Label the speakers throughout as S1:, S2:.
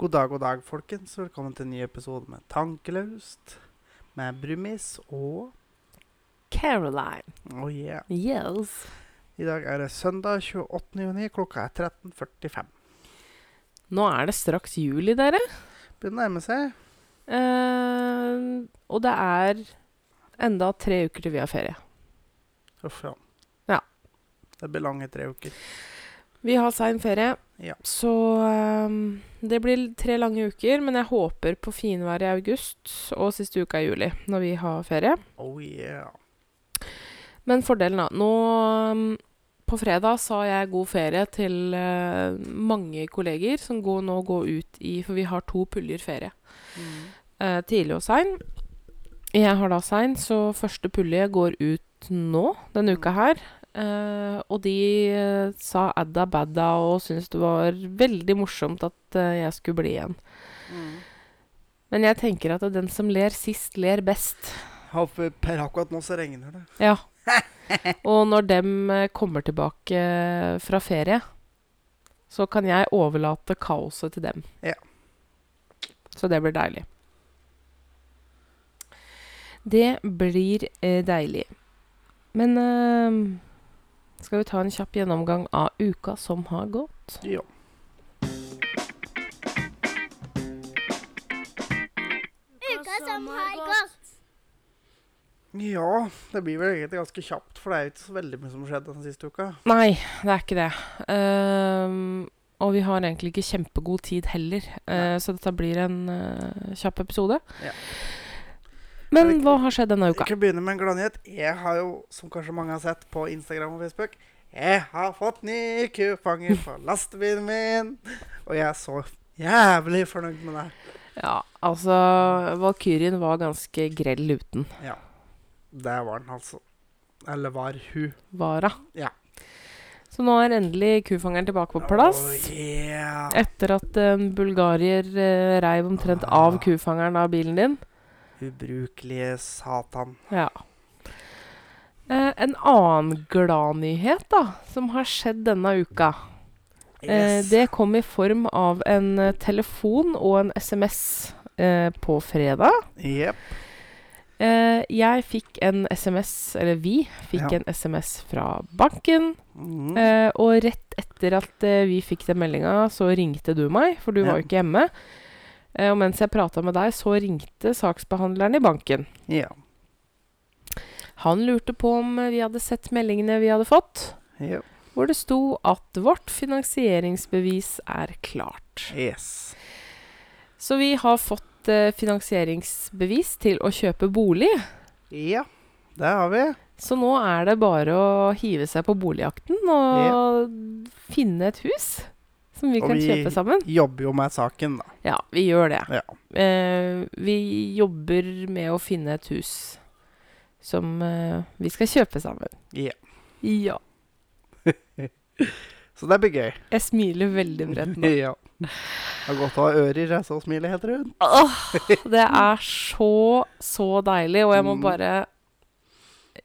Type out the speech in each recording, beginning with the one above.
S1: God dag, god dag, folkens. Velkommen til en ny episode med Tankelaust. Med Brumis og
S2: Caroline.
S1: Oh yeah.
S2: Yes.
S1: I dag er det søndag 28. juni. Klokka er 13.45.
S2: Nå er det straks juli, dere.
S1: Begynner å nærme seg.
S2: Eh, og det er enda tre uker til vi har ferie.
S1: Uff, ja.
S2: Ja.
S1: Det blir lange tre uker.
S2: Vi har sein ferie,
S1: Ja.
S2: så eh, det blir tre lange uker. Men jeg håper på finvær i august og siste uka i juli, når vi har ferie.
S1: Oh yeah.
S2: Men fordelen, da. Nå mm, på fredag sa jeg god ferie til eh, mange kolleger som går, nå går ut i For vi har to puljer ferie.
S1: Mm.
S2: eh, tidlig og sein. Jeg har da sein, så første pulje går ut nå, denne uka her. Eh, og de eh, sa adda badda og syntes det var veldig morsomt at eh, jeg skulle bli igjen.
S1: Mm.
S2: Men jeg tenker at den som ler sist, ler best.
S1: Håper per akkurat nå så regner det.
S2: Ja. Og når dem eh, kommer tilbake eh, fra ferie, så kan jeg overlate kaoset til dem.
S1: Ja.
S2: Så det blir deilig. Det blir eh, deilig. Men eh, skal vi ta en kjapp gjennomgang av uka som har gått?
S1: Ja.
S3: Uka som har gått.
S1: ja, det blir vel egentlig ganske kjapt, for det er jo ikke så veldig mye som skjedde den siste uka.
S2: Nei, det er ikke det. Ehm, og vi har egentlig ikke kjempegod tid heller, eh, så dette blir en eh, kjapp episode.
S1: Ja.
S2: Men
S1: Men vi-
S2: hva har skjedd denne uka?
S1: Jeg kan begynne med en gladnyhet. Jeg har jo, som kanskje mange har sett på Instagram og Facebook, jeg har fått ny kufanger på lastebilen min! Og jeg er så jævlig fornøyd med det.
S2: Ja, altså Valkyrien var ganske grell uten
S1: Det var den, altså. Eller var hun.
S2: vara.
S1: Ja.
S2: Så nå er endelig kufangeren tilbake på plass.
S1: Oh, yeah.
S2: Etter at en bulgarier eh, reiv omtrent av kufangeren av bilen din.
S1: Ubrukelige satan.
S2: Ja. Eh, en annen gladnyhet da, som har skjedd denne uka, eh,
S1: Yes.
S2: det kom i form av en eh, telefon og en SMS eh, på fredag.
S1: Jep.
S2: Eh, jeg fikk en SMS, eller vi fikk
S1: Ja.
S2: en SMS fra banken.
S1: Mhm.
S2: Eh, og rett etter at eh, vi fikk den meldinga, så ringte du meg, for du
S1: Ja.
S2: var jo ikke hjemme. Eh, og mens jeg prata med deg, så ringte saksbehandleren i banken.
S1: Ja.
S2: Han lurte på om eh, vi hadde sett meldingene vi hadde fått,
S1: Jep.
S2: hvor det sto at vårt finansieringsbevis er klart.
S1: Yes.
S2: Så vi har fått eh, finansieringsbevis til å kjøpe bolig.
S1: Ja, det har vi.
S2: Så nå er det bare å hive seg på boligjakten og finne et hus som vi
S1: Og
S2: kan
S1: vi-
S2: kjøpe sammen.
S1: Jobber jo med saken, da.
S2: Ja, vi gjør det.
S1: Ja.
S2: Eh, vi jobber med å finne et hus som eh, vi skal kjøpe sammen.
S1: Ja.
S2: Ja.
S1: Så det blir gøy.
S2: Jeg smiler veldig bredt nå.
S1: ja. Det er godt å ha ører, jeg, så smilet heter hun.
S2: Åh, det er så, så deilig, og jeg må
S1: Mm.
S2: bare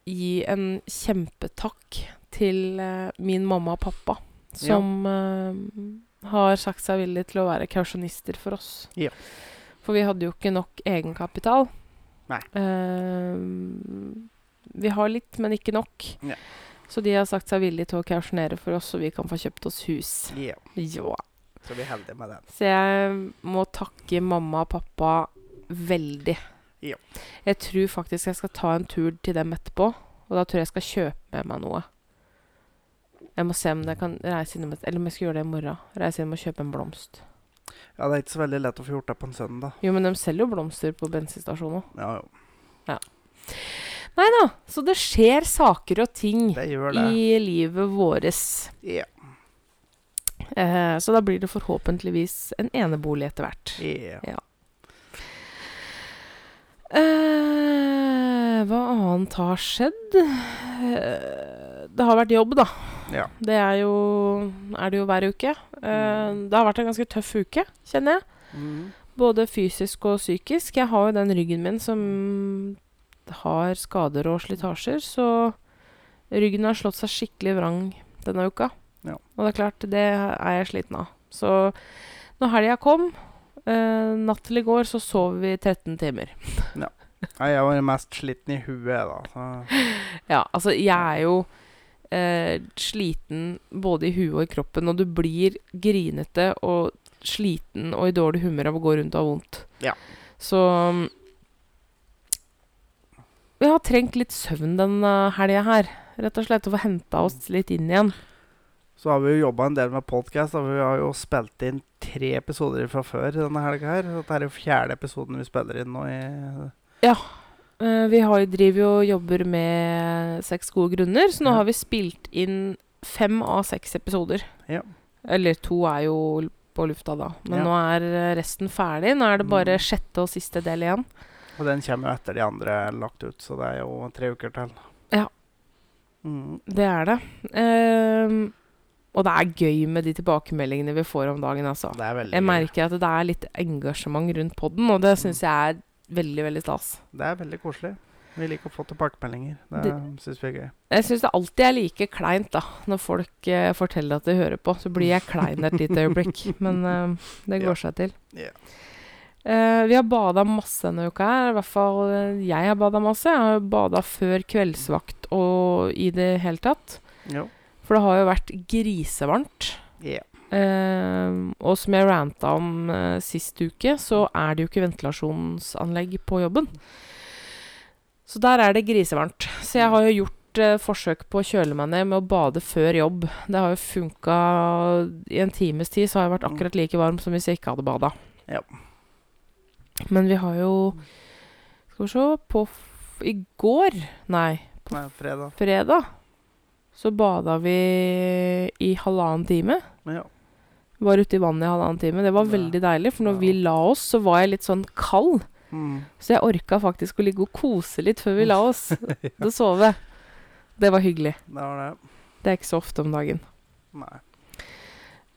S2: gi en kjempetakk til eh, min mamma og pappa,
S1: Ja.
S2: som eh, har sagt seg villig til å være kausjonister for oss.
S1: Ja.
S2: For vi hadde jo ikke nok egenkapital.
S1: Nei.
S2: Eh, vi har litt, men ikke nok.
S1: Ja.
S2: Så de har sagt seg villig til å kausjonere for oss, så vi kan få kjøpt oss hus.
S1: Ja.
S2: Ja.
S1: Så vi er heldige med den.
S2: Så jeg må takke mamma og pappa veldig.
S1: Ja.
S2: Jeg tror faktisk jeg skal ta en tur til dem etterpå, og da tror jeg jeg skal kjøpe med meg noe. Jeg må se om jeg kan reise innom et, Eller om jeg skal gjøre det i morgen. Reise innom og kjøpe en blomst.
S1: Ja, det er ikke så veldig lett å få gjort det på en søndag.
S2: Jo, men de selger jo blomster på bensinstasjonen òg.
S1: Ja, jo.
S2: Så det skjer saker og ting
S1: Det gjør det.
S2: i livet våres.
S1: Ja.
S2: Eh, så da blir det forhåpentligvis en enebolig etter hvert.
S1: ja.
S2: Eh, hva annet har skjedd? Eh, det har vært jobb, da.
S1: Ja.
S2: Det er jo, er det jo hver uke. Eh, det har vært en ganske tøff uke, kjenner jeg.
S1: Mhm.
S2: Både fysisk og psykisk. Jeg har jo den ryggen min som har skader og slitasjer, så ryggen har slått seg skikkelig vrang denne uka.
S1: Ja.
S2: Og det er klart, det er jeg sliten av. Så når helga kom, Eh, natt til i går så sov vi 13 timer.
S1: Nei, jeg var mest sliten i huet, da. Så.
S2: Ja, altså jeg er jo eh, sliten både i huet og i kroppen, og du blir grinete og sliten og i dårlig humør av å gå rundt og ha vondt.
S1: Ja.
S2: Så mm, vi har trengt litt søvn denne helga her, rett og slett, og få henta oss litt inn igjen.
S1: så har vi jo jobba en del med podkast, og vi har jo spilt inn tre episoder fra før denne helga her. Så Dette er jo fjerde episoden vi spiller inn nå i
S2: Eh, vi har, jo- driver jo og jobber med seks gode grunner, så nå
S1: Ja.
S2: har vi spilt inn fem av seks episoder.
S1: Ja.
S2: Eller to er jo l- på lufta da, men
S1: Ja.
S2: nå er eh, resten ferdig. Nå er det bare
S1: Mm.
S2: sjette og siste del igjen.
S1: Og den kommer jo etter de andre er lagt ut, så det er jo tre uker til.
S2: Ja.
S1: Mm.
S2: Det er det. Ehm, og det er gøy med de tilbakemeldingene vi får om dagen, altså.
S1: Det er veldig
S2: Jeg merker at det er litt engasjement rundt podden, og
S1: Mm.
S2: det syns jeg er veldig, veldig stas.
S1: Det er veldig koselig. Vi liker å få tilbakemeldinger. Det,
S2: Det-
S1: synes syns vi er gøy.
S2: Jeg syns det alltid er like kleint da, når folk eh, forteller at de hører på. Så blir jeg klein et lite øyeblikk, men eh, det
S1: Ja.
S2: går seg til.
S1: Ja.
S2: Eh, vi har bada masse denne uka her. I hvert fall eh, jeg har bada masse. Jeg har bada før kveldsvakt og i det hele tatt.
S1: Jo.
S2: For det har jo vært grisevarmt.
S1: Ja.
S2: Eh, og som jeg ranta om eh, sist uke, så er det jo ikke ventilasjonsanlegg på jobben. Så der er det grisevarmt. Så jeg har jo gjort eh, forsøk på å kjøle meg ned med å bade før jobb. Det har jo funka I en times tid så har jeg vært akkurat like varm som hvis jeg ikke hadde bada.
S1: Ja.
S2: Men vi har jo Skal vi se På f i går Nei,
S1: Nei, fredag.
S2: fredag så bada vi i halvannen time.
S1: Men ja.
S2: Var ute i vannet i halvannen time. Det var
S1: Ja.
S2: veldig deilig, for når
S1: Ja.
S2: vi la oss, så var jeg litt sånn kald.
S1: Mm.
S2: Så jeg orka faktisk å ligge og kose litt før vi la oss og sove. Det var hyggelig.
S1: Det var det.
S2: Det er ikke så ofte om dagen.
S1: Nei.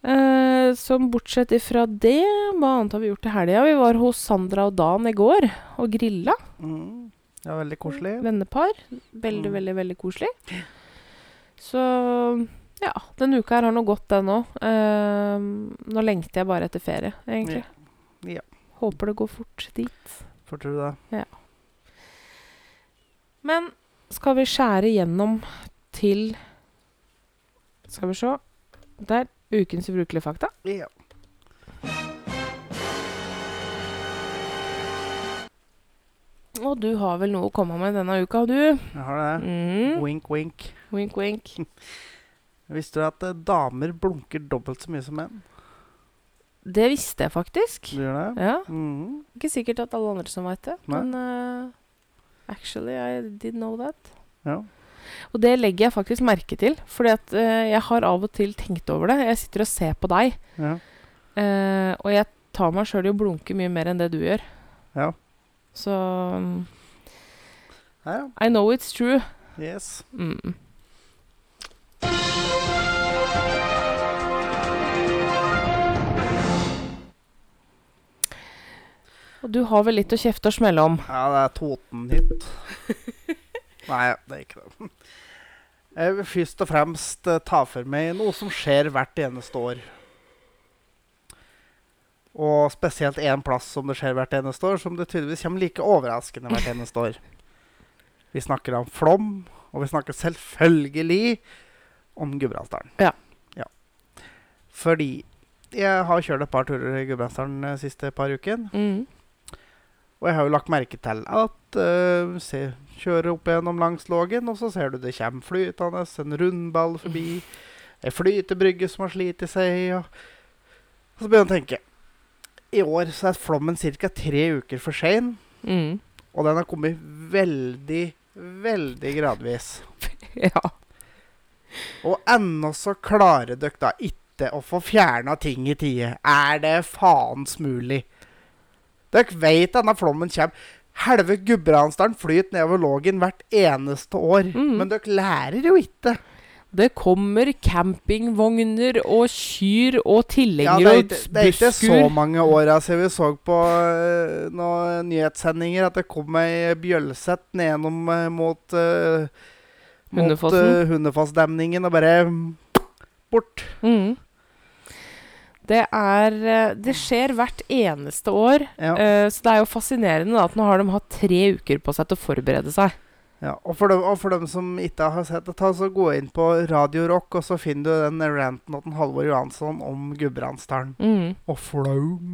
S2: Eh, så bortsett ifra det, hva annet har vi gjort i helga? Vi var hos Sandra og Dan i går og grilla.
S1: Mm. Det var veldig koselig.
S2: Vennepar. Veldig,
S1: Mm.
S2: veldig, veldig koselig. Så ja, denne uka her har nå gått, den òg. Eh, nå lengter jeg bare etter ferie, egentlig.
S1: Ja. Ja.
S2: Håper det går fort dit.
S1: Får tro det.
S2: Men skal vi skjære gjennom til Skal vi se. Der. Ukens ubrukelige fakta.
S1: Ja.
S2: Og du har vel noe å komme med denne uka, du?
S1: Jeg har det.
S2: Mm.
S1: Wink, wink.
S2: Wink, wink.
S1: Visste du at eh, damer blunker dobbelt så mye som menn?
S2: Det visste jeg faktisk.
S1: Du gjør det?
S2: Ja.
S1: Mm.
S2: Ikke sikkert at alle andre som veit det,
S1: Nei.
S2: men eh, actually I did know that.
S1: Ja.
S2: Og det legger jeg faktisk merke til, fordi at eh, jeg har av og til tenkt over det. Jeg sitter og ser på deg,
S1: Ja.
S2: eh, og jeg tar meg sjøl i å blunke mye mer enn det du gjør.
S1: Ja.
S2: Så mm,
S1: ja.
S2: I know it's true.
S1: Yes.
S2: Mm. Og du har vel litt å kjefte og smelle om?
S1: Ja, det er Totenhytt. Nei, det er ikke det. Jeg vil først og fremst eh, ta for meg noe som skjer hvert eneste år. Og spesielt én plass som det skjer hvert eneste år, som det tydeligvis kommer like overraskende hvert eneste år. Vi snakker om Flom, og vi snakker selvfølgelig om Gudbrandsdalen.
S2: Ja.
S1: ja. Fordi jeg har kjørt et par turer i Gudbrandsdalen de siste par ukene.
S2: Mm.
S1: Og jeg har jo lagt merke til at øh, se, kjører opp gjennom langs Lågen, og så ser du det kommer flytende en rundball forbi, ei flytebrygge som har slitt i seg, og, og så begynner jeg å tenke. I år så er flommen ca. tre uker for sein,
S2: Mm.
S1: og den har kommet veldig, veldig gradvis.
S2: Ja.
S1: Og ennå så klarer dere da ikke å få fjerna ting i tide. Er det faens mulig? Dere veit denne flommen kommer. Helve Gudbrandsdalen flyter nedover Lågen hvert eneste år.
S2: Mm.
S1: Men dere lærer jo ikke.
S2: Det kommer campingvogner og kyr og
S1: Ja,
S2: tilhengere
S1: det, er
S2: og
S1: ikke, det er ikke så
S2: busskur.
S1: mange åra siden vi så på eh, noen nyhetssendinger at det kom ei bjølsett nedom eh, mot eh, Mot
S2: Hundefossen.
S1: eh, Hundefossdemningen og bare mm, bort.
S2: Mm. Det er eh, Det skjer hvert eneste år.
S1: Ja.
S2: Eh, så det er jo fascinerende da, at nå har de hatt tre uker på seg til å forberede seg.
S1: Ja, og for, dem, og for dem som ikke har sett det, ta så gå inn på Radio Rock, og så finner du den ranten til Halvor Johansson om Gudbrandsdalen.
S2: Mm.
S1: Og flaum.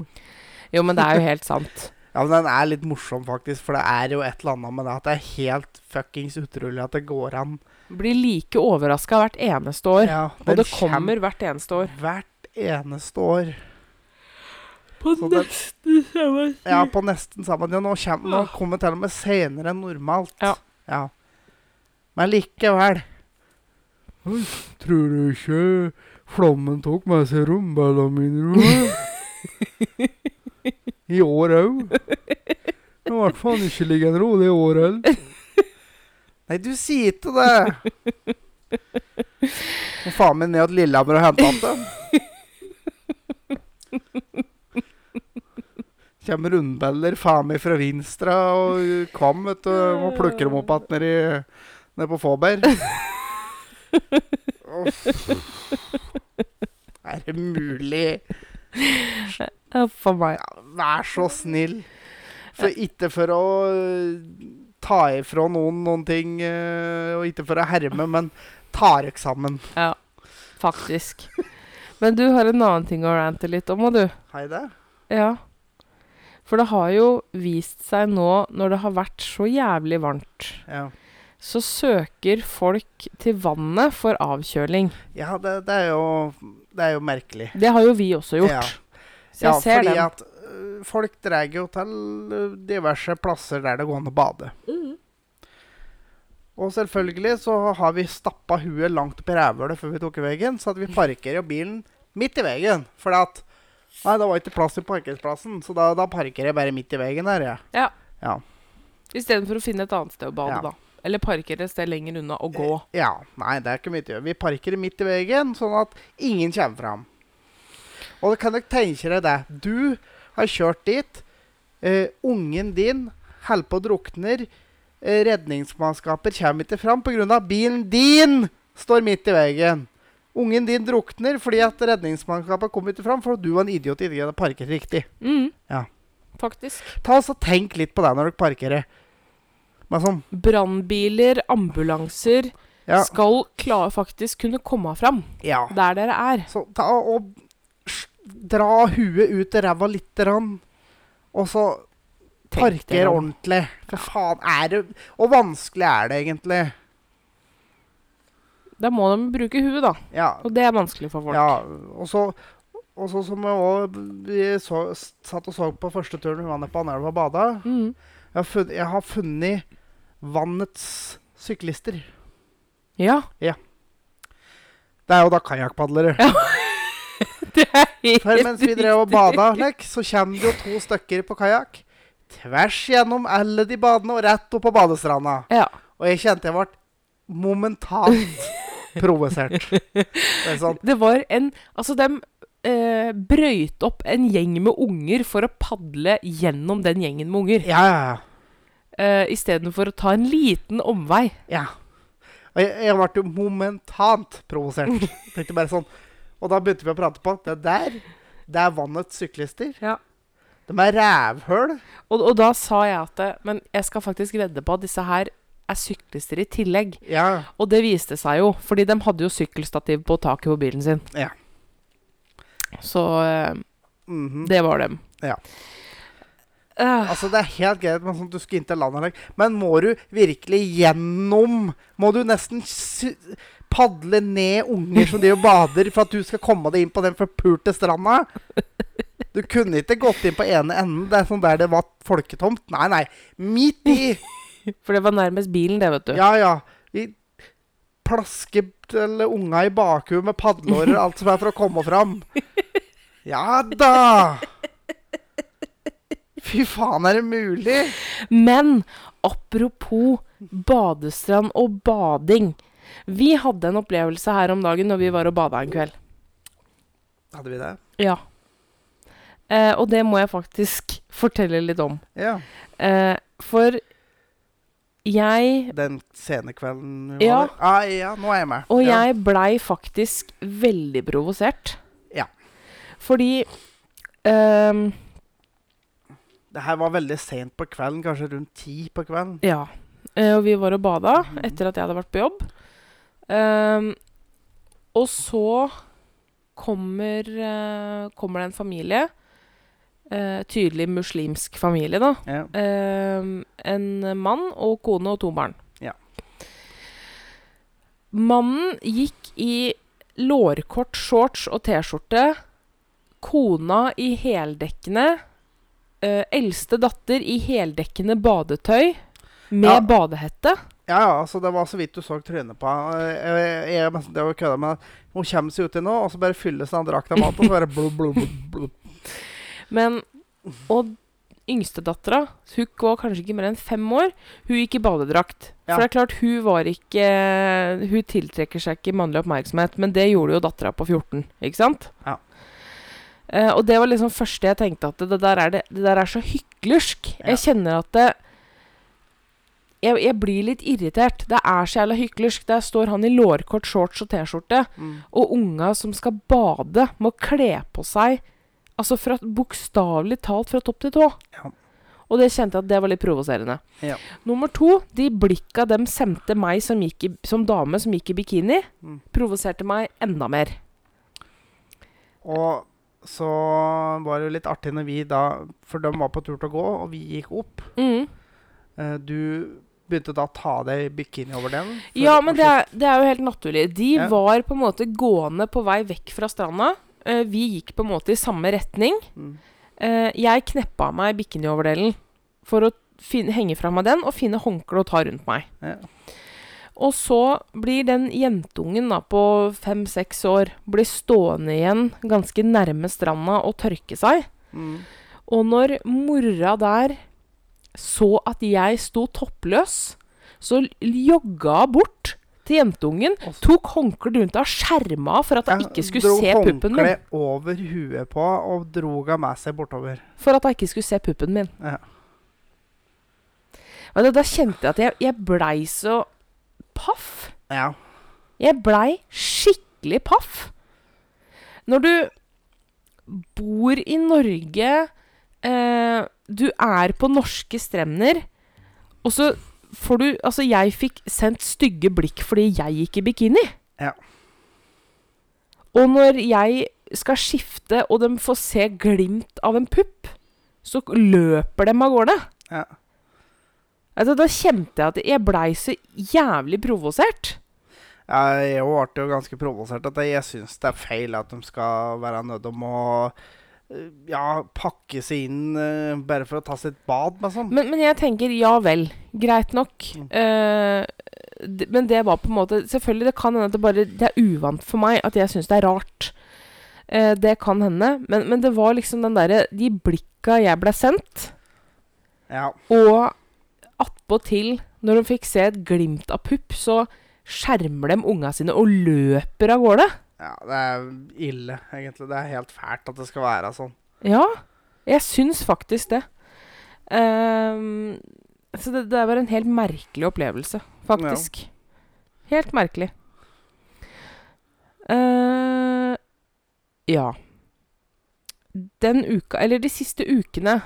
S2: Jo, men det er jo helt sant.
S1: Ja, men den er litt morsom, faktisk, for det er jo et eller annet med det at det er helt fuckings utrolig at det går an.
S2: Blir like overraska hvert eneste år.
S1: Ja,
S2: og
S1: den
S2: det kommer hvert eneste år.
S1: kommer hvert eneste år.
S2: På
S1: Så det-
S2: neste sommer.
S1: Ja, på nesten samme tid. Nå, kjem, nå kommer til og med senere enn normalt.
S2: Ja.
S1: Ja. Men likevel. Tror du ikke flommen tok med seg rumbella mine? I år òg? Det ble faen ikke liggende ro det året heller. Nei, du sier ikke det! Må faen meg ned til Lillehammer og hente igjen dem. Kjem rundbeller faen meg fra Vinstra og Kvam, vet du. Må plukke dem opp igjen nede i- nede på Fåberg. Uff. Er det mulig?
S2: For meg.
S1: Ja, vær så snill. For ikke for å øh, ta ifra noen noen ting, øh, og ikke for å herme, men tar eksamen.
S2: Ja, faktisk. Men du har en annen ting å rante litt om, og du.
S1: Hei det.
S2: Ja. For det har jo vist seg nå, når det har vært så jævlig varmt,
S1: Ja,
S2: så søker folk til vannet for avkjøling.
S1: ja det, det, er jo, det er jo merkelig.
S2: Det har jo vi også gjort. Så jeg
S1: ja,
S2: ser
S1: fordi
S2: den.
S1: at øh, folk drar jo til øh, diverse plasser der det går an å bade.
S2: Mhm.
S1: Og selvfølgelig så har vi stappa huet langt opp i rævhølet før vi tok i veggen, så at vi parkerer jo bilen midt i veggen. For at Nei, det var ikke plass i parkeringsplassen, så da, da parkerer jeg bare midt i veggen her, jeg.
S2: Istedenfor å finne et annet sted å bade,
S1: Ja.
S2: da. Eller parkere et sted lenger unna og gå.
S1: Ja, nei, det er ikke mye å gjøre. Vi parkerer midt i veggen, sånn at ingen kommer fram. Og da kan dere tenke dere det. Du har kjørt dit. Eh, ungen din holder på å drukne. Eh, redningsmannskaper kommer ikke fram pga. bilen din står midt i veggen. Ungen din drukner fordi at redningsmannskapet kom ikke fram fordi du var en idiot i ikke hadde parkert riktig.
S2: Mm.
S1: Ja.
S2: Faktisk.
S1: Ta og så Tenk litt på det når dere parkerer. Men sånn,
S2: Brannbiler, ambulanser
S1: ja,
S2: skal kla- faktisk kunne komme fram
S1: ja.
S2: der dere er.
S1: Så ta og s- dra huet ut i ræva lite grann, og så
S2: Tenk
S1: parker
S2: dere om.
S1: ordentlig. For faen er det Og vanskelig er det egentlig.
S2: Da må de bruke huet, da.
S1: Ja.
S2: Og det er vanskelig for folk.
S1: ja og så og så som jeg også vi så, s- satt og så på første turen vi var nede på Anelva og bada
S2: Mm.
S1: jeg, har funnet- jeg har funnet vannets syklister.
S2: ja.
S1: Det er jo da kajakkpadlere.
S2: Det er helt
S1: For mens vi
S2: riktig.
S1: drev og bada, Lex, så kommer det jo to stykker på kajakk. Tvers gjennom alle de badene og rett opp på badestranda.
S2: Ja.
S1: Og jeg kjente jeg ble momentant provosert. Det er sånn,
S2: Det var en Altså, dem eh, brøyt opp en gjeng med unger for å padle gjennom den gjengen med unger.
S1: ja, ja, ja.
S2: Eh, Istedenfor å ta en liten omvei.
S1: Ja. Og jeg, jeg ble jo momentant provosert. Tenkte bare sånn. Og da begynte vi å prate på det der. Det er vannets syklister.
S2: Ja.
S1: De er rævhøl.
S2: Og, og da sa jeg at eh, Men jeg skal faktisk vedde på at disse her er syklister i tillegg.
S1: Ja.
S2: Og det viste seg jo, fordi de hadde jo sykkelstativ på taket på bilen sin.
S1: Ja.
S2: Så eh,
S1: mhm.
S2: det var dem.
S1: Ja.
S2: Eh,
S1: Altså, det er helt greit men sånn, at du skal inn til landet, like. men må du virkelig gjennom Må du nesten sy- padle ned unger som driver og bader, for at du skal komme deg inn på den forpulte stranda? Du kunne ikke gått inn på ene enden. Det er sånn der det var folketomt. Nei, nei. Midt i.
S2: for det var nærmest bilen, det, vet du.
S1: Ja, ja. Vi plasker til unga i bakhuet med padleårer, alt som er for å komme fram. Ja da! Fy faen, er det mulig?
S2: Men apropos badestrand og bading. Vi hadde en opplevelse her om dagen når vi var og bada en kveld.
S1: Hadde vi det?
S2: Ja. Eh, og det må jeg faktisk fortelle litt om.
S1: Ja.
S2: Eh, for jeg
S1: Den sene kvelden vi var
S2: Ja.
S1: der. Ah, ja, nå er jeg med.
S2: Og
S1: ja.
S2: jeg blei faktisk veldig provosert.
S1: Ja.
S2: Fordi ehm,
S1: Det her var veldig sent på kvelden, kanskje rundt ti på kvelden.
S2: Ja. Eh, og vi var og bada etter at jeg hadde vært på jobb. Ehm, og så kommer, eh, kommer det en familie. eh, tydelig muslimsk familie, da.
S1: Ja.
S2: Ehm, en mann og kone og to barn.
S1: Ja.
S2: Mannen gikk i lårkort shorts og T-skjorte. Kona i heldekkende. eh, eldste datter i heldekkende badetøy med
S1: Ja.
S2: badehette.
S1: Ja, ja, altså det var så vidt du så trynet på han. Jeg, jeg, jeg, men det var jo kødda, men hun kommer seg uti nå, og så bare fylles den drakta mat, og så bare blub, blub, blub, blub.
S2: Men Og yngstedattera, hun var kanskje ikke mer enn fem år, hun gikk i badedrakt.
S1: Ja.
S2: For det er klart, hun var ikke Hun tiltrekker seg ikke mannlig oppmerksomhet, men det gjorde jo dattera på 14, ikke sant?
S1: Ja.
S2: Eh, og det var liksom første jeg tenkte at det der er, det, det der er så hyklersk.
S1: Ja.
S2: Jeg kjenner at det jeg, jeg blir litt irritert. Det er så jævla hyklersk. Der står han i lårkort, shorts og T-skjorte.
S1: Mm.
S2: Og unga som skal bade, må kle på seg altså fra, bokstavelig talt fra topp til tå.
S1: Ja.
S2: Og det kjente jeg at det var litt provoserende.
S1: Ja.
S2: Nummer to, de blikka dem sendte meg som, gikk i, som dame som gikk i bikini,
S1: Mm.
S2: provoserte meg enda mer.
S1: Og så var det jo litt artig når vi da For de var på tur til å gå, og vi gikk opp. Eh, Du begynte da å ta av deg bikinioverdelen. for
S2: Ja,
S1: å
S2: men det er, det er jo helt naturlig. De
S1: Ja.
S2: var på en måte gående på vei vekk fra stranda. Eh, Vi gikk på en måte i samme retning.
S1: slippe- Mm.
S2: Eh, Jeg kneppa av meg bikinioverdelen for å fin- henge fra meg den og finne håndkle å ta rundt meg.
S1: Ja.
S2: Og så blir den jentungen da på fem-seks år blir stående igjen ganske nærme stranda og tørke seg.
S1: Mm.
S2: Og når mora der så at jeg sto toppløs, så l- jogga hun bort til jentungen,
S1: Og så-
S2: tok håndkleet rundt av, skjerma av for at hun
S1: Jeg
S2: ikke skulle se puppen min.
S1: Dro håndkle over huet på og drog henne med seg bortover.
S2: For at hun ikke skulle se puppen min.
S1: Ja.
S2: Og da, da kjente jeg at jeg, jeg blei så paff.
S1: Ja.
S2: Jeg blei skikkelig paff. Når du bor i Norge, eh, du er på norske strender, og så får du Altså, jeg fikk sendt stygge blikk fordi jeg gikk i bikini.
S1: Ja.
S2: Og når jeg skal skifte, og de får se glimt av en pupp, så løper de av gårde.
S1: Ja.
S2: Altså, da kjente jeg at jeg blei så jævlig provosert.
S1: Jeg òg ble jo ganske provosert. At jeg- jeg syns det er feil at de skal være nødt om å eh, ja, pakke seg inn eh, bare for å ta sitt bad, liksom.
S2: Men, men jeg tenker ja vel, greit nok.
S1: Mm.
S2: Eh, d- men det var på en måte Selvfølgelig, det kan hende at det bare Det er uvant for meg at jeg syns det er rart. Eh, det kan hende. Men, men det var liksom den derre De blikka jeg ble sendt,
S1: Ja.
S2: og attpåtil, når de fikk se et glimt av pupp, så skjermer de unga sine og løper av gårde.
S1: ja. Det er ille, egentlig. Det er helt fælt at det skal være sånn.
S2: Ja, jeg syns faktisk det. Ehm, så det, det var en helt merkelig opplevelse, faktisk. Helt merkelig. Eh, ja. Den uka, eller de siste ukene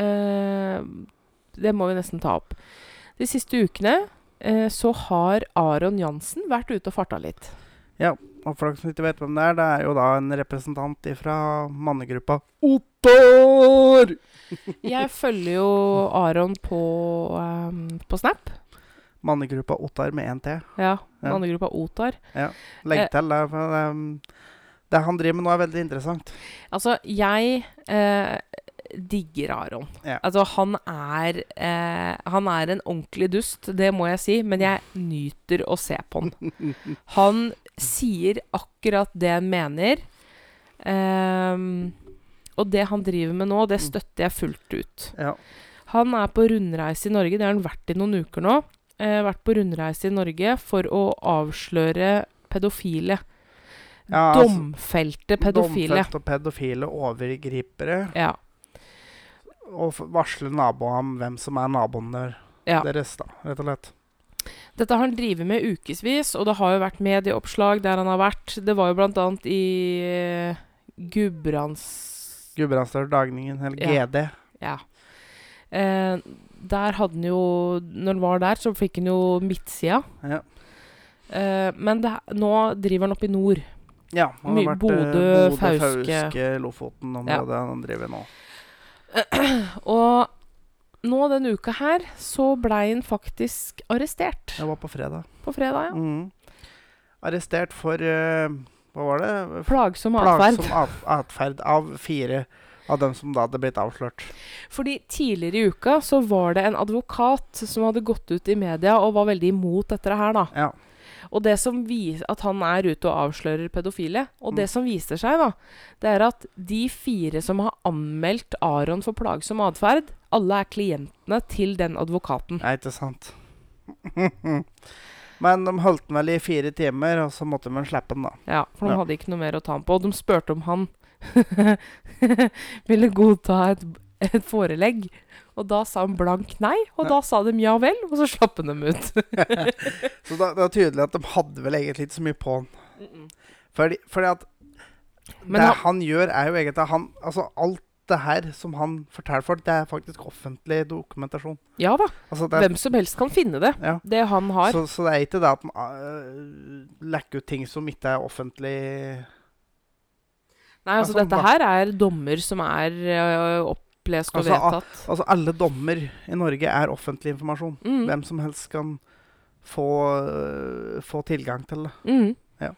S2: eh, Det må vi nesten ta opp. De siste ukene eh, så har Aron Jansen vært ute og farta litt.
S1: Og for dere som ikke vet hvem det er, det er jo da en representant fra mannegruppa Ottar!
S2: Jeg følger jo Aron på, ehm, på Snap.
S1: Mannegruppa Ottar med én T.
S2: Ja, den
S1: Ja.
S2: andre gruppa Otar.
S1: Legg
S2: Eh.
S1: til det. For det, um, det han driver med nå, er veldig interessant.
S2: Altså, jeg eh, digger Aron.
S1: Ja.
S2: Altså, han er eh, Han er en ordentlig dust, det må jeg si, men jeg nyter å se på han. Han sier akkurat det han mener. Ehm, og det han driver med nå,
S1: Mm.
S2: det støtter jeg fullt ut.
S1: Ja.
S2: Han er på rundreise i Norge. Det har han vært i noen uker nå. Eh, vært på rundreise i Norge for å avsløre pedofile.
S1: Ja, altså,
S2: domfelte pedofile.
S1: Domfelt og pedofile overgripere.
S2: Ja.
S1: og f- varsle naboen om hvem som er naboen der,
S2: Ja.
S1: deres, da, rett og slett.
S2: Dette har han drevet med ukevis, og det har jo vært medieoppslag der han har vært. Det var jo blant annet i eh, Gudbrands...
S1: Gudbrandsdal Dagningen, eller
S2: Ja.
S1: GD.
S2: Ja. Eh, der hadde han jo Når han var der, så fikk han jo midtsida.
S1: Ja.
S2: Eh, men det, nå driver han opp i nord.
S1: Ja, han har
S2: Mye
S1: vært eh,
S2: Bodø,
S1: Bodø,
S2: Fauske.
S1: Fauske, Lofoten-området han driver nå.
S2: Og nå denne uka her så blei han faktisk arrestert
S1: Det var på fredag.
S2: på fredag. Ja.
S1: Mm. Arrestert for eh, Hva var det?
S2: Plagsom atferd.
S1: Plagsom at- atferd av fire av dem som da hadde blitt avslørt.
S2: Fordi tidligere i uka så var det en advokat som hadde gått ut i media og var veldig imot dette her, da.
S1: Ja.
S2: Og det som viser at han er ute og avslører pedofile. Og
S1: Mm.
S2: det som viser seg, da, det er at de fire som har anmeldt Aron for plagsom atferd, alle er klientene til den advokaten.
S1: Nei, ikke sant. Men de holdt den vel i fire timer, og så måtte de slippe den, da.
S2: Ja, For de
S1: Ja.
S2: hadde ikke noe mer å ta ham på. Og de spurte om han ville godta et, et forelegg. Og da sa han blank nei, og
S1: Ja.
S2: da sa de ja vel, og så slapp han dem ut.
S1: Så da, det er tydelig at de hadde vel egentlig ikke så mye på den. Fordi, fordi at
S2: Men
S1: det
S2: han-
S1: han, gjør, er jo egentlig at han Altså, alt det her som han forteller folk, det er faktisk offentlig dokumentasjon.
S2: Ja da,
S1: Altså, det er,
S2: hvem som helst kan finne det.
S1: ja.
S2: Det han har.
S1: Så, så det er ikke det at han øh, lekker ut ting som ikke er offentlig
S2: Nei, altså
S1: altså,
S2: dette
S1: hva-
S2: her er dommer som er øh, opplest og
S1: Altså, a-
S2: vedtatt.
S1: Altså, alle dommer i Norge er offentlig informasjon.
S2: Mm,
S1: Hvem som helst kan få, øh, få tilgang til det.
S2: mm.
S1: Ja.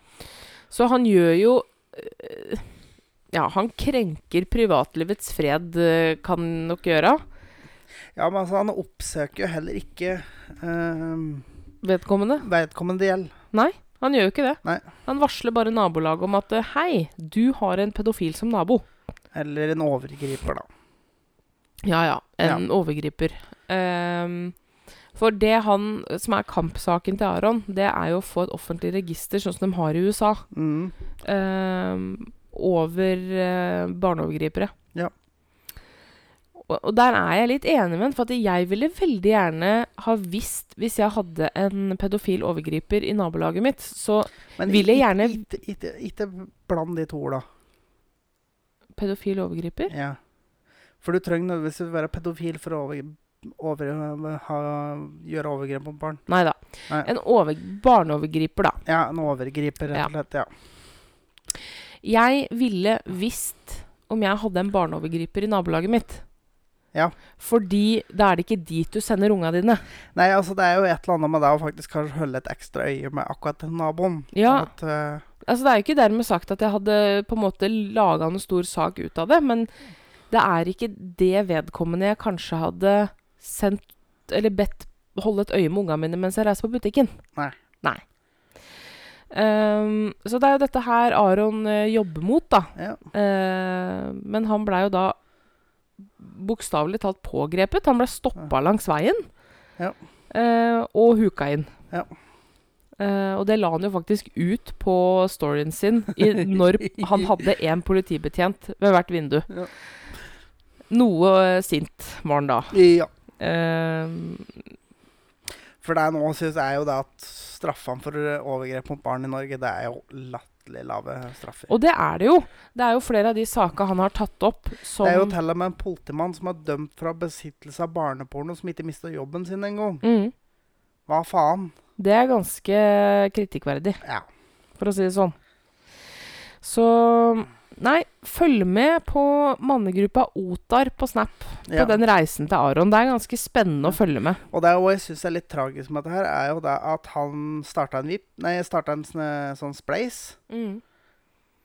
S2: Så han gjør jo øh, Ja, han krenker privatlivets fred, øh, kan han nok gjøre.
S1: Ja, men altså, han oppsøker jo heller ikke øh,
S2: Vedkommende.
S1: vedkommende gjeld.
S2: Han gjør jo ikke det.
S1: Nei.
S2: Han varsler bare nabolaget om at øh, Hei, du har en pedofil som nabo.
S1: Eller en overgriper, da.
S2: Ja ja, en overgriper. Ehm, for det han som er kampsaken til Aron, det er jo å få et offentlig register, sånn som de har i USA,
S1: Mm.
S2: ehm, over eh, barneovergripere.
S1: Ja.
S2: Og, og der er jeg litt enig med ham, for at jeg ville veldig gjerne ha visst, hvis jeg hadde en pedofil overgriper i nabolaget mitt, så
S1: Men
S2: Vil jeg
S1: ikke-
S2: gjerne-
S1: ikke, ikke, ikke bland de to orda.
S2: Pedofil overgriper?
S1: Ja. For du trenger nødvendigvis å være pedofil for å over, over, ha, gjøre overgrep mot barn.
S2: Nei da.
S1: Nei.
S2: En over, barneovergriper, da.
S1: Ja, en overgriper, rett og slett. Ja.
S2: Jeg ville visst om jeg hadde en barneovergriper i nabolaget mitt.
S1: Ja.
S2: Fordi da er det ikke dit du sender unga dine.
S1: Nei, altså det er jo et eller annet med det å faktisk kanskje holde et ekstra øye med akkurat den naboen.
S2: Ja.
S1: At, eh,
S2: Altså, det er jo ikke dermed sagt at jeg hadde på en måte laga en stor sak ut av det, men det er ikke det vedkommende jeg kanskje hadde sendt Eller bedt holde et øye med unga mine mens jeg reiser på butikken.
S1: Nei.
S2: Nei. Ehm, så det er jo dette her Aron eh, jobber mot, da.
S1: ja.
S2: Eh, men han blei jo da bokstavelig talt pågrepet. Han blei stoppa langs veien
S1: Ja.
S2: eh, og huka inn.
S1: Ja.
S2: Eh, og det la han jo faktisk ut på storyen sin i, når han hadde én politibetjent ved hvert vindu.
S1: Ja.
S2: Noe eh, sint var han da.
S1: ja.
S2: Eh,
S1: For det er nå synes jeg jo det at straffene for overgrep mot barn i Norge, det er jo latterlig lave straffer.
S2: og det er det jo. Det er jo flere av de saka han har tatt opp som
S1: det er jo til og med en politimann som er dømt fra besittelse av barneporno, som ikke mista jobben sin engang.
S2: mm,
S1: Hva faen?
S2: Det er ganske kritikkverdig.
S1: Ja.
S2: for å si det sånn. Så Nei, følg med på mannegruppa Otar på Snap på
S1: ja.
S2: den reisen til Aron. Det er ganske spennende å følge med.
S1: Og det er jo- jeg syns er litt tragisk med dette her, er jo det at han starta en VIP, nei, starta en sånn, sånn spleis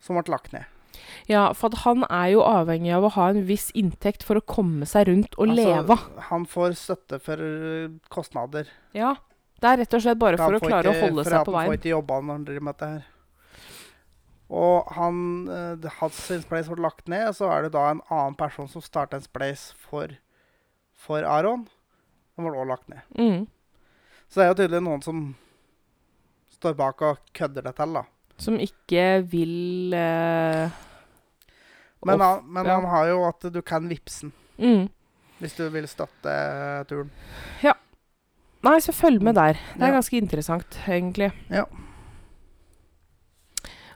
S1: som ble lagt ned.
S2: Ja, for at han er jo avhengig av å ha en viss inntekt for å komme seg rundt og
S1: Altså,
S2: leve.
S1: Han får støtte for øh, kostnader.
S2: Ja, Det er rett og slett bare for
S1: Han
S2: å
S1: får
S2: klare å
S1: ikke-
S2: holde
S1: for
S2: seg
S1: at
S2: på
S1: Han får
S2: veien.
S1: ikke jobba når han driver med dette her. Og han, eh, det- hans sin spleis ble lagt ned, og så er det da en annen person som starta en spleis for, for Aron. Den ble også lagt ned.
S2: Mm.
S1: Så det er jo tydelig noen som står bak og kødder det til, da.
S2: Som ikke vil eh,
S1: Men,
S2: off-
S1: han, men
S2: ja.
S1: han har jo at du kan vippse den
S2: mm.
S1: hvis du vil støtte turen.
S2: Nei, så følg med der. Det er
S1: Ja.
S2: ganske interessant, egentlig.
S1: Ja.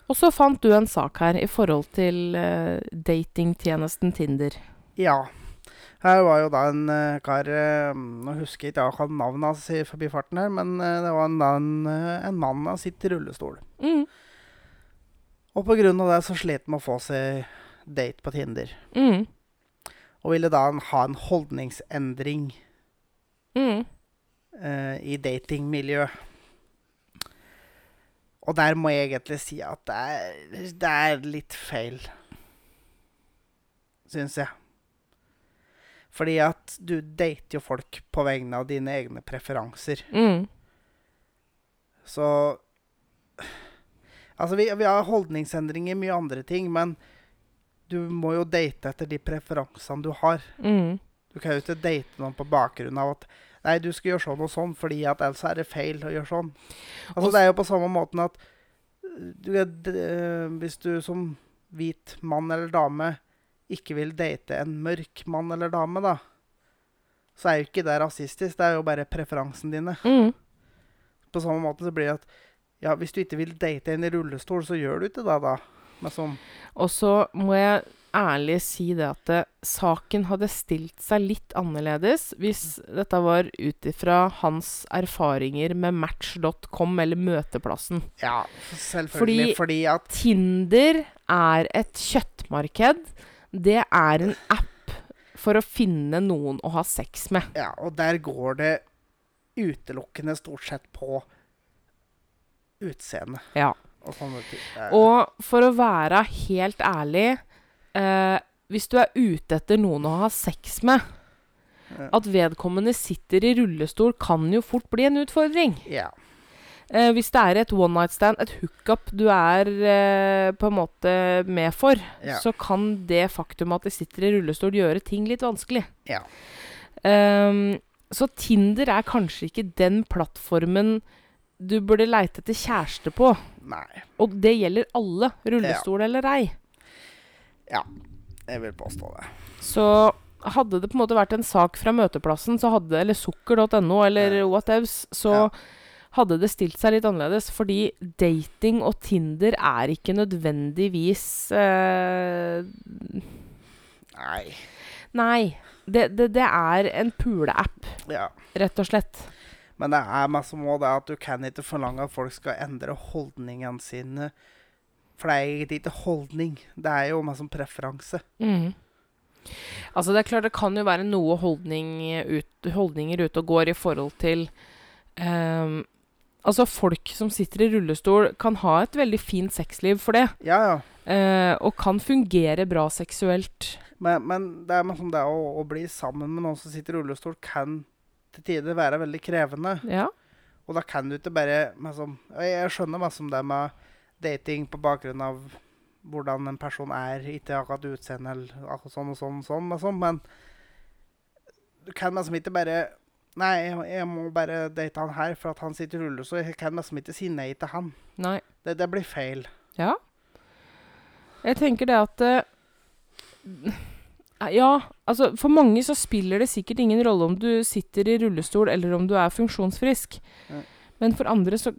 S2: Og så fant du en sak her i forhold til eh, datingtjenesten Tinder.
S1: Ja. Her var jo da en eh, kar eh, Nå husker jeg ikke akkurat navnet hans i forbifarten her, men eh, det var en, da en, eh, en mann som sitter i rullestol.
S2: Mm.
S1: Og på grunn av det så slet han med å få seg date på Tinder.
S2: Mm.
S1: Og ville da ha en holdningsendring
S2: Mm.
S1: eh, i datingmiljøet. Og der må jeg egentlig si at det er, det er litt feil, syns jeg. Fordi at du dater jo folk på vegne av dine egne preferanser.
S2: Mm.
S1: Så Altså, vi, vi har holdningsendringer i mye andre ting, men du må jo date etter de preferansene du har.
S2: Mm.
S1: Du kan jo ikke date noen på bakgrunn av at Nei, du skal gjøre sånn og sånn, fordi at ellers er det feil å gjøre sånn. Altså,
S2: Og s-
S1: det er jo på samme måten at du, er d- eh, Hvis du som hvit mann eller dame ikke vil date en mørk mann eller dame, da, så er jo ikke det rasistisk. Det er jo bare preferansene dine.
S2: Mm.
S1: På samme måte så blir det at ja, hvis du ikke vil date en i rullestol, så gjør du ikke det, da. Men sånn
S2: Og så må jeg ærlig si det at eh, saken hadde stilt seg litt annerledes hvis dette var ut ifra hans erfaringer med match.com eller Møteplassen.
S1: Ja, selvfølgelig. Fordi, at
S2: Tinder er et kjøttmarked. Det er en app for å finne noen å ha sex med.
S1: Ja, og der går det utelukkende stort sett på utseende
S2: Ja.
S1: og sånne ting. Det er-
S2: Og for å være helt ærlig eh, Hvis du er ute etter noen å ha sex med
S1: Ja.
S2: At vedkommende sitter i rullestol, kan jo fort bli en utfordring.
S1: ja.
S2: Eh, hvis det er et one night stand, et hookup du er eh, på en måte med for,
S1: Ja.
S2: så kan det faktum at de sitter i rullestol, gjøre ting litt vanskelig.
S1: Ja.
S2: Ehm, så Tinder er kanskje ikke den plattformen du burde leite etter kjæreste på.
S1: Nei.
S2: Og det gjelder alle, rullestol eller ei.
S1: Jeg vil påstå det.
S2: Så hadde det på en måte vært en sak fra møteplassen, så hadde, eller sukker.no eller
S1: Ja.
S2: whatevs, så
S1: Ja.
S2: hadde det stilt seg litt annerledes. Fordi dating og Tinder er ikke nødvendigvis eh,
S1: Nei.
S2: Nei. Det, det, det er en puleapp,
S1: Ja.
S2: rett og slett.
S1: Men det er meg som må det at du kan ikke forlange at folk skal endre holdningene sine. For det er egentlig ikke holdning. Det er jo meg som preferanse.
S2: Mm. Altså Det er klart det kan jo være noe holdning ut, holdninger ute og går i forhold til ehm, Altså Folk som sitter i rullestol, kan ha et veldig fint sexliv for det.
S1: Ja, ja.
S2: Eh, og kan fungere bra seksuelt.
S1: Men, men det er liksom det å, å bli sammen med noen som sitter i rullestol, kan til tider være veldig krevende.
S2: Ja.
S1: Og da kan du ikke bare liksom, og Jeg skjønner masse om det med dating på bakgrunn av hvordan en person er, ikke akkurat utseende eller akkurat sånn og sånn og sånn, og sånn men du kan liksom ikke bare Nei, jeg, jeg må bare date han her, for at han sitter i rullestol. Jeg kan liksom ikke si nei til han.
S2: Nei.
S1: Det, det blir feil.
S2: Ja. Jeg tenker det at eh, Ja, altså for mange så spiller det sikkert ingen rolle om du sitter i rullestol eller om du er funksjonsfrisk.
S1: Ja.
S2: Men for andre så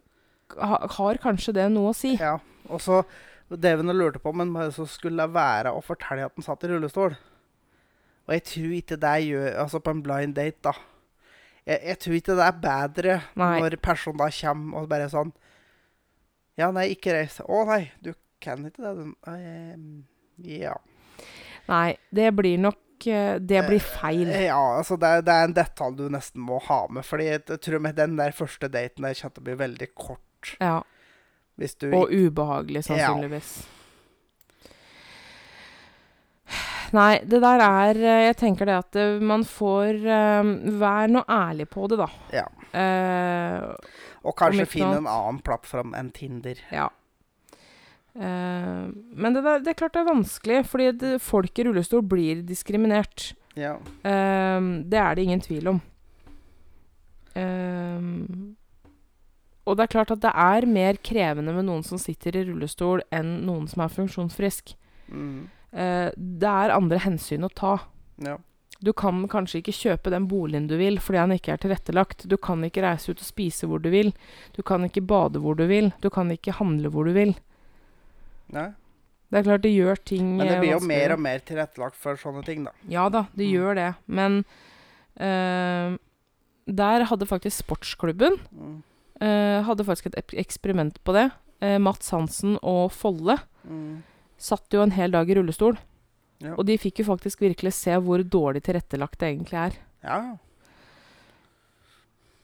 S2: ha, har kanskje det noe å si.
S1: Ja. Og så Devin og lurte på men hva så skulle det være å fortelle at han satt i rullestol. Og jeg tror ikke det gjør Altså på en blind date, da. Jeg, jeg tror ikke det er bedre
S2: Nei.
S1: når personen da kommer og bare sånn Ja, nei, ikke reis. Å nei, du kan ikke det. du- «Nei, eh, Ja.
S2: Nei, det blir nok eh, Det blir feil.
S1: ja altså det, er- det er en detalj du nesten må ha med. Fordi jeg tror med den der første daten der kommer til å bli veldig kort.
S2: Ja.
S1: Hvis du
S2: Og ubehagelig,
S1: eh, Ja.
S2: sannsynligvis. Nei, det der er eh, Jeg tenker det at eh, man får eh, Vær nå ærlig på det, da.
S1: Ja.
S2: Eh,
S1: Og
S2: om
S1: kanskje
S2: ikke
S1: finne
S2: noe
S1: en annen plattform enn Tinder.
S2: ja. Eh, men det, der, det er klart det er vanskelig, fordi det, folk i rullestol blir diskriminert.
S1: Ja.
S2: Eh, det er det ingen tvil om. Eh, og det er klart at det er mer krevende med noen som sitter i rullestol, enn noen som er funksjonsfrisk.
S1: Mm.
S2: Eh, det er andre hensyn å ta.
S1: Ja.
S2: Du kan kanskje ikke kjøpe den boligen du vil fordi den ikke er tilrettelagt. Du kan ikke reise ut og spise hvor du vil. Du kan ikke bade hvor du vil. Du kan ikke handle hvor du vil.
S1: Nei.
S2: Det er klart det gjør ting
S1: Men det blir jo
S2: eh,
S1: mer
S2: vanskeligere.
S1: og mer tilrettelagt for sånne ting, da.
S2: Ja da, det
S1: Mm.
S2: gjør det. Men eh, der hadde faktisk sportsklubben
S1: Mm.
S2: eh, hadde faktisk et ep- eksperiment på det. Eh, Mats Hansen og Folle
S1: Mm.
S2: satt jo en hel dag i rullestol.
S1: Ja.
S2: Og de fikk jo faktisk virkelig se hvor dårlig tilrettelagt det egentlig er.
S1: Ja.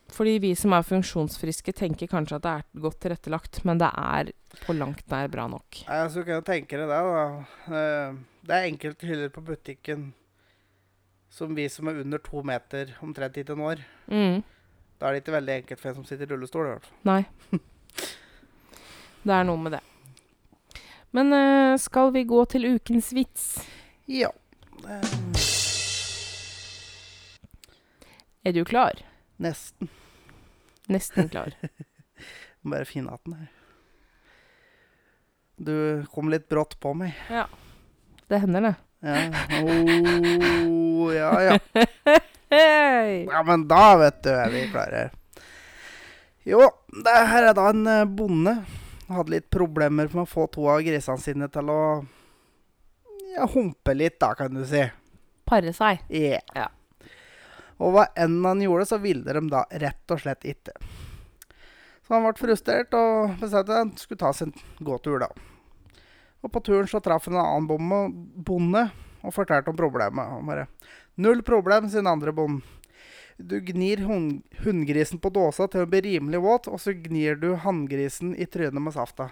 S2: Fordi vi som er funksjonsfriske, tenker kanskje at det er godt tilrettelagt, men det er på langt nær bra nok.
S1: Nei, altså, du kan jo tenke deg det, da. Eh, Det er enkelte hyller på butikken som vi som er under to meter, omtrent ikke når.
S2: Mm.
S1: Da er det ikke veldig enkelt for en som sitter i rullestol. i hvert fall.
S2: Nei. Det er noe med det. Men eh, skal vi gå til ukens vits?
S1: Ja.
S2: Er du klar?
S1: Nesten.
S2: Nesten klar.
S1: Må bare finne igjen den her. Du kom litt brått på meg.
S2: Det hender, det.
S1: Ja, oh, ja, ja.
S2: Hei!
S1: ja, men da vet du er vi klare. Jo, det her er da en eh, bonde. Han hadde litt problemer med å få to av grisene sine til å ja, humpe litt, da, kan du si.
S2: Pare seg.
S1: Ja.
S2: Ja.
S1: Og hva enn han gjorde, så ville de da rett og slett ikke. Så han ble frustrert og bestemte at han skulle ta sin gåtur, da. Og på turen så traff han en annen bomme- bonde og fortalte om problemet. Han bare 'Null problem', sin andre bonde. Du gnir hun- hunngrisen på dåsa til hun blir rimelig våt, og så gnir du hanngrisen i trynet med safta.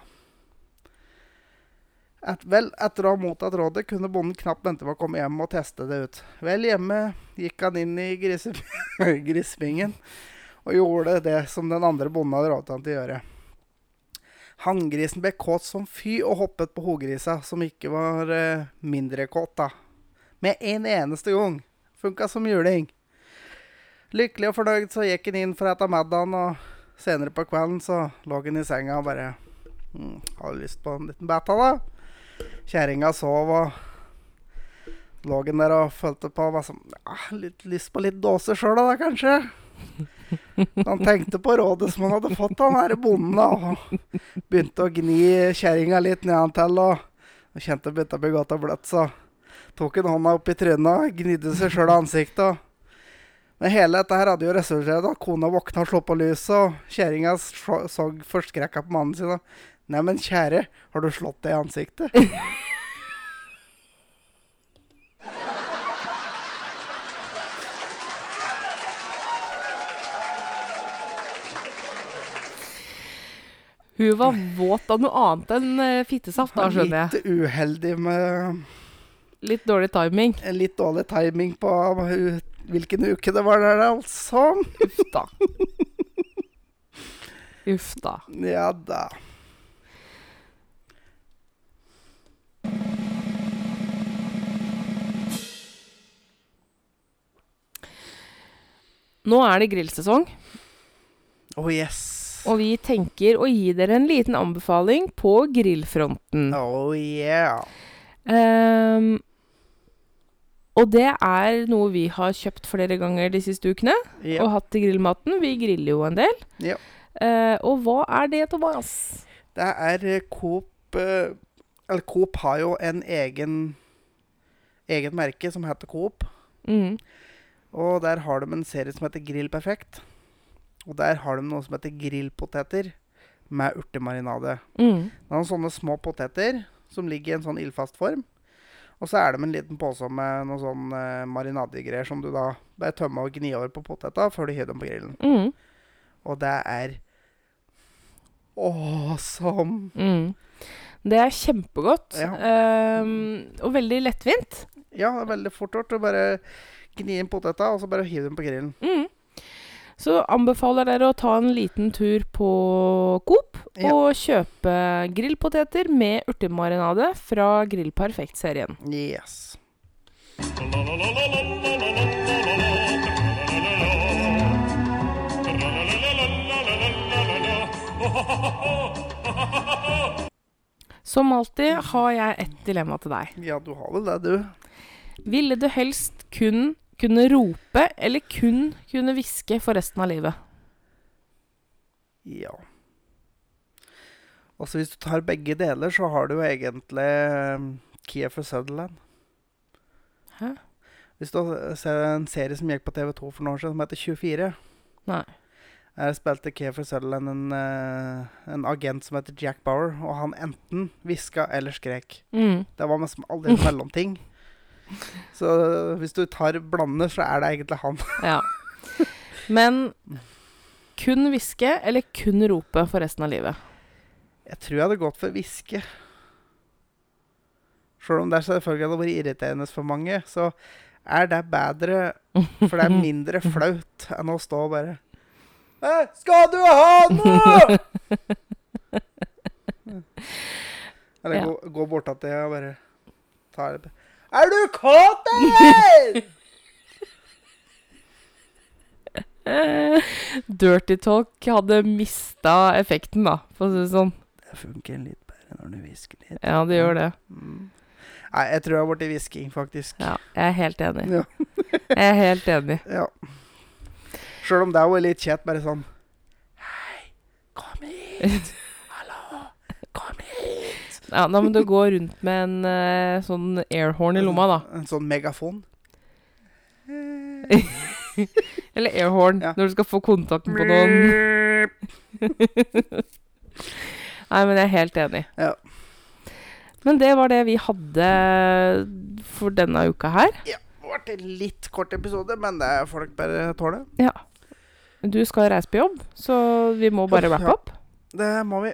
S1: Et, vel, etter å ha mottatt rådet, kunne bonden knapt vente med å komme hjem og teste det ut. Vel hjemme gikk han inn i grise, grisbingen og gjorde det som den andre bonden hadde rådet han til å gjøre. Hanngrisen ble kåt som fy og hoppet på hogrisa, som ikke var eh, mindre kåt, da. Med en eneste gang. Funka som juling. Lykkelig og fornøyd så gikk han inn for å spise middagen, og senere på kvelden så lå han i senga og bare mm, Har du lyst på en liten beta, da? Kjerringa sov, og lå han der og følte på og var sånn, ja, litt lyst på litt dåse sjøl, da, kanskje. Han tenkte på rådet som han hadde fått av den her bonden, da, og begynte å gni kjerringa litt nedantil. Og, og kjente det begynte å bli godt og bløtt, så tok han hånda opp i trynet og gnidde seg sjøl i ansiktet. Og. Men hele dette her hadde jo resultert i at kona våkna og slo på lyset, og kjerringa så så forskrekka på mannen sin. og, Neimen, kjære, har du slått deg i ansiktet?
S2: Hun var våt av noe annet enn eh, fittesaft, da, skjønner jeg.
S1: Litt uheldig med
S2: Litt dårlig timing.
S1: en litt dårlig timing på u- hvilken uke det var der, altså.
S2: Uff da. Uff da.
S1: Ja da.
S2: Nå er det grillsesong,
S1: Å, Oh, yes.
S2: og vi tenker å gi dere en liten anbefaling på grillfronten.
S1: Oh yeah.
S2: Ehm, og det er noe vi har kjøpt flere ganger de siste ukene,
S1: Ja.
S2: og hatt til grillmaten. Vi griller jo en del.
S1: Ja.
S2: Eh, og hva er det, Thomas?
S1: Det er eh, Coop eh, Eller Coop har jo en egen eget merke som heter Coop.
S2: Mm.
S1: Og der har de en serie som heter Grill Perfekt. Og der har de noe som heter grillpoteter med urtemarinade.
S2: Mm.
S1: Det er noen sånne små poteter som ligger i en sånn ildfast form. Og så er det med en liten pose med noen sånn eh, marinadegreier som du da bare tømmer og gnir over på poteta før du hiver dem på grillen.
S2: Mm.
S1: Og det er awesome.
S2: Mm. Det er kjempegodt,
S1: Ja.
S2: ehm, og veldig lettvint.
S1: Ja, det er veldig fort gjort. Du bare gnir inn poteta, og så bare hiver dem på grillen.
S2: Mm. Så anbefaler dere å ta en liten tur på Coop
S1: Ja.
S2: og kjøpe grillpoteter med urtemarinade fra Grill Perfekt-serien.
S1: Yes.
S2: Som alltid har jeg et dilemma til deg.
S1: Ja, du har vel det, du.
S2: Ville du helst kun kunne rope eller kun kunne hviske for resten av livet?
S1: Ja. Altså Hvis du tar begge deler, så har du jo egentlig eh, Kiefer Sutherland.
S2: Hæ?
S1: Hvis du ser en serie som gikk på TV2 for noen år siden, som heter 24
S2: Nei.
S1: Der spilte Kiefer Sutherland en, eh, en agent som heter Jack Bauer, og han enten hviska eller skrek.
S2: Mm.
S1: Det var liksom aldri en mellomting. Så eh, hvis du tar blander, så er det egentlig han.
S2: Ja. Men kun hviske eller kun rope for resten av livet?
S1: Jeg tror jeg hadde gått for hviske. Sjøl om det selvfølgelig hadde vært irriterende for mange, så er det bedre, for det er mindre flaut enn å stå og bare «Hæ, Skal du ha noe?! Eller
S2: Ja.
S1: gå, gå bortatt til og bare ta det Er du kåt, eller?!
S2: Eh, Dirty talk hadde mista effekten, da, for å si det sånn.
S1: Det funker litt bedre når du hvisker litt.
S2: Ja, det gjør det.
S1: Mm. Nei, jeg tror jeg har blitt hvisking, faktisk.
S2: Ja, jeg er helt enig.
S1: Ja.
S2: Jeg er helt enig.
S1: Ja. Sjøl om det er jo litt kjett, bare sånn Hei, kom hit! Hallo, kom hit!
S2: Ja, da må du gå rundt med en eh, sånn airhorn i lomma, da.
S1: En sånn megafon.
S2: Eller airhorn,
S1: Ja.
S2: når du skal få kontakten på noen. Nei, men jeg er helt enig.
S1: Ja.
S2: Men det var det vi hadde for denne uka her.
S1: Det ble en litt kort episode, men det er folk bare tåler.
S2: Ja. Du skal reise på jobb, så vi må bare
S1: Uff,
S2: wrappe
S1: ja.
S2: opp.
S1: Det må vi.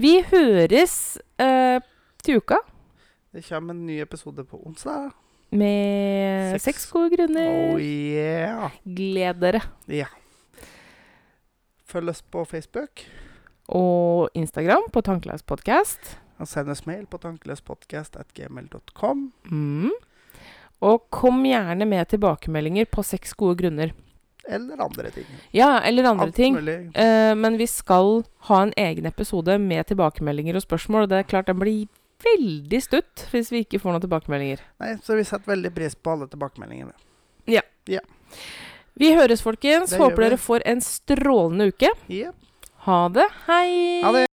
S2: Vi høres eh, til uka
S1: Det kommer en ny episode på onsdag.
S2: med
S1: Seks.
S2: seks gode grunner.
S1: Oh yeah!
S2: Gled dere.
S1: Ja. Følg oss på Facebook.
S2: Og Instagram på Tankeløs podkast.
S1: Og send oss mail på tankeløspodcast.gmail.com.
S2: Mm. Og kom gjerne med tilbakemeldinger på seks gode grunner.
S1: Eller andre ting.
S2: Ja, eller andre
S1: Alt
S2: ting.
S1: mulig.
S2: Eh, men vi skal ha en egen episode med tilbakemeldinger og spørsmål. Og det er klart den blir veldig stutt hvis vi ikke får noen tilbakemeldinger.
S1: Nei, så vi setter veldig pris på alle tilbakemeldingene.
S2: Vi høres, folkens.
S1: Det gjør
S2: Håper
S1: vi.
S2: dere får en strålende uke.
S1: Yep.
S2: Ha det. Hei.
S1: Ha det!